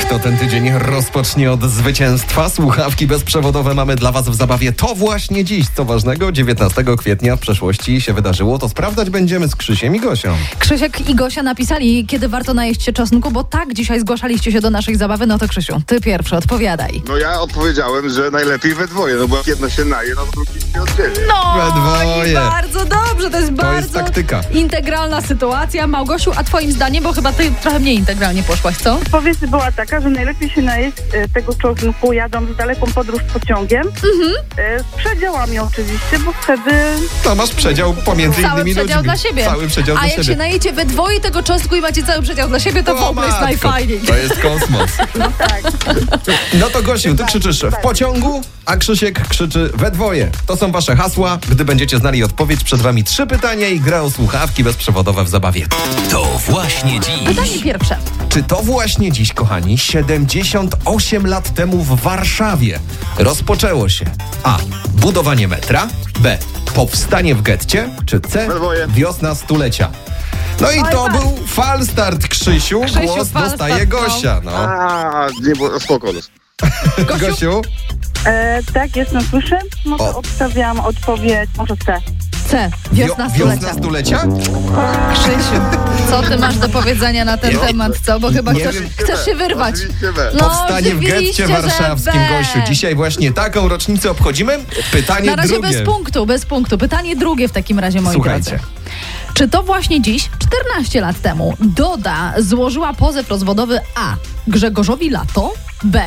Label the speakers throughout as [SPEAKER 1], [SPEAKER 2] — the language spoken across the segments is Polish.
[SPEAKER 1] kto ten tydzień rozpocznie od zwycięstwa. Słuchawki bezprzewodowe mamy dla Was w zabawie. To właśnie dziś, co ważnego, 19 kwietnia w przeszłości się wydarzyło. To sprawdzać będziemy z Krzysiem i Gosią.
[SPEAKER 2] Krzysiek i Gosia napisali, kiedy warto najeść się czosnku, bo tak dzisiaj zgłaszaliście się do naszej zabawy. No to Krzysiu, ty pierwszy odpowiadaj.
[SPEAKER 3] No ja odpowiedziałem, że najlepiej we dwoje, no bo jak jedno się naje, no to drugi się oddzieli.
[SPEAKER 2] No
[SPEAKER 1] We dwoje.
[SPEAKER 2] i bardzo dobrze, to jest bardzo
[SPEAKER 1] jest taktyka.
[SPEAKER 2] integralna sytuacja. Małgosiu, a twoim zdaniem, bo chyba ty trochę mniej integralnie poszłaś, co?
[SPEAKER 4] Odpowiedź była taka, że najlepiej się najeść e, tego czosnku jadąc daleką podróż pociągiem. E, Z przedziałami oczywiście, bo wtedy
[SPEAKER 1] To masz przedział pomiędzy
[SPEAKER 2] Cały
[SPEAKER 1] innymi
[SPEAKER 2] przedział
[SPEAKER 1] ludźmi.
[SPEAKER 2] dla siebie.
[SPEAKER 1] Cały przedział
[SPEAKER 2] a
[SPEAKER 1] dla
[SPEAKER 2] jak
[SPEAKER 1] siebie.
[SPEAKER 2] się najecie we dwoje tego czosnku i macie cały przedział dla siebie, to
[SPEAKER 1] O,
[SPEAKER 2] w ogóle jest
[SPEAKER 1] matko,
[SPEAKER 2] najfajniej.
[SPEAKER 1] To jest kosmos.
[SPEAKER 4] tak.
[SPEAKER 1] No to Gosiu, ty krzyczysz w pociągu, a Krzysiek krzyczy we dwoje. To są wasze hasła. Gdy będziecie znali odpowiedź, przed wami trzy pytania i gra o słuchawki bezprzewodowe w zabawie.
[SPEAKER 5] To właśnie
[SPEAKER 2] Pytanie
[SPEAKER 5] dziś.
[SPEAKER 2] pierwsze.
[SPEAKER 1] Czy to właśnie dziś, kochani, 78 lat temu w Warszawie rozpoczęło się A. Budowanie metra, B. Powstanie w getcie, czy C.
[SPEAKER 3] We dwoje.
[SPEAKER 1] Wiosna stulecia. No i to był falstart Krzysiu,
[SPEAKER 2] tak. Krzysiu,
[SPEAKER 1] głos
[SPEAKER 2] falstart,
[SPEAKER 1] dostaje
[SPEAKER 2] no.
[SPEAKER 1] Gosia.
[SPEAKER 3] Tak.
[SPEAKER 1] No.
[SPEAKER 3] A, nie, bo spoko. no. los.
[SPEAKER 2] Gosiu?
[SPEAKER 1] Gosiu,
[SPEAKER 4] E, tak, jestem, słyszę. Może
[SPEAKER 1] O.
[SPEAKER 4] obstawiam odpowiedź, może C.
[SPEAKER 2] C.
[SPEAKER 1] wio-
[SPEAKER 2] Wiosna stulecia.
[SPEAKER 1] wiosna stulecia?
[SPEAKER 2] Krzysiu, co ty masz do powiedzenia na ten
[SPEAKER 1] Nie,
[SPEAKER 2] temat, co? Bo chyba
[SPEAKER 1] nie
[SPEAKER 2] chcesz,
[SPEAKER 1] wiem.
[SPEAKER 2] chcesz się wyrwać.
[SPEAKER 3] Oczywiście we.
[SPEAKER 2] No,
[SPEAKER 1] Powstanie w
[SPEAKER 2] oczywiście,
[SPEAKER 1] getcie
[SPEAKER 2] że
[SPEAKER 1] warszawskim,
[SPEAKER 2] B.
[SPEAKER 1] Gosiu. Dzisiaj właśnie taką rocznicę obchodzimy. Pytanie
[SPEAKER 2] Na razie
[SPEAKER 1] drugie.
[SPEAKER 2] bez punktu, bez punktu. Pytanie drugie w takim razie, moi
[SPEAKER 1] Słuchajcie.
[SPEAKER 2] drodzy. Czy to właśnie dziś, 14 lat temu, Doda złożyła pozew rozwodowy A. Grzegorzowi Lato, B.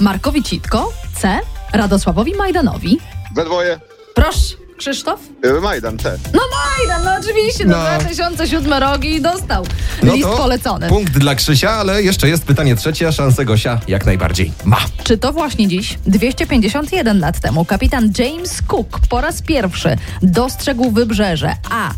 [SPEAKER 2] Markowi Citko, C. Radosławowi Majdanowi.
[SPEAKER 3] We dwoje.
[SPEAKER 2] Proszę, Krzysztof?
[SPEAKER 3] Y, Majdan, te.
[SPEAKER 2] No Majdan, no oczywiście, no,
[SPEAKER 1] No.
[SPEAKER 2] 2007 rok i dostał
[SPEAKER 1] No
[SPEAKER 2] list
[SPEAKER 1] to
[SPEAKER 2] polecony.
[SPEAKER 1] Punkt dla Krzysia, ale jeszcze jest pytanie trzecie, a szansę Gosia jak najbardziej ma.
[SPEAKER 2] Czy to właśnie dziś, 251 lat temu, kapitan James Cook po raz pierwszy dostrzegł wybrzeże A.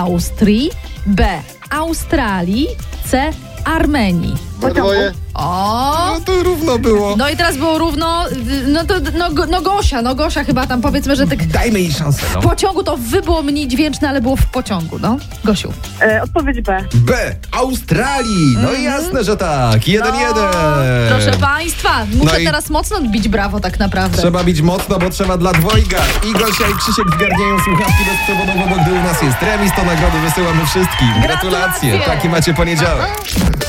[SPEAKER 2] Austrii, B. Australii, C. Armenii.
[SPEAKER 3] We dwoje.
[SPEAKER 2] O!
[SPEAKER 1] No to równo było.
[SPEAKER 2] No i teraz było równo, no to no, Go- no Gosia, no Gosia chyba tam powiedzmy, że tak
[SPEAKER 1] Dajmy jej szansę.
[SPEAKER 2] w
[SPEAKER 1] No.
[SPEAKER 2] pociągu to wy było mniej dźwięczne, ale było w pociągu, no. Gosiu.
[SPEAKER 4] E, odpowiedź B.
[SPEAKER 1] B. Australii. No jasne, że tak. Jeden, jeden.
[SPEAKER 2] Proszę państwa, muszę
[SPEAKER 1] No i-
[SPEAKER 2] teraz mocno odbić brawo tak naprawdę.
[SPEAKER 1] Trzeba bić mocno, bo trzeba dla dwojga. I Gosia i Krzysiek zgarniają słuchawki bezprzewodowo, bo gdy u nas jest remis, to nagrody wysyłamy wszystkim. Gratulacje.
[SPEAKER 2] Gratulacje.
[SPEAKER 1] Taki macie poniedziałek.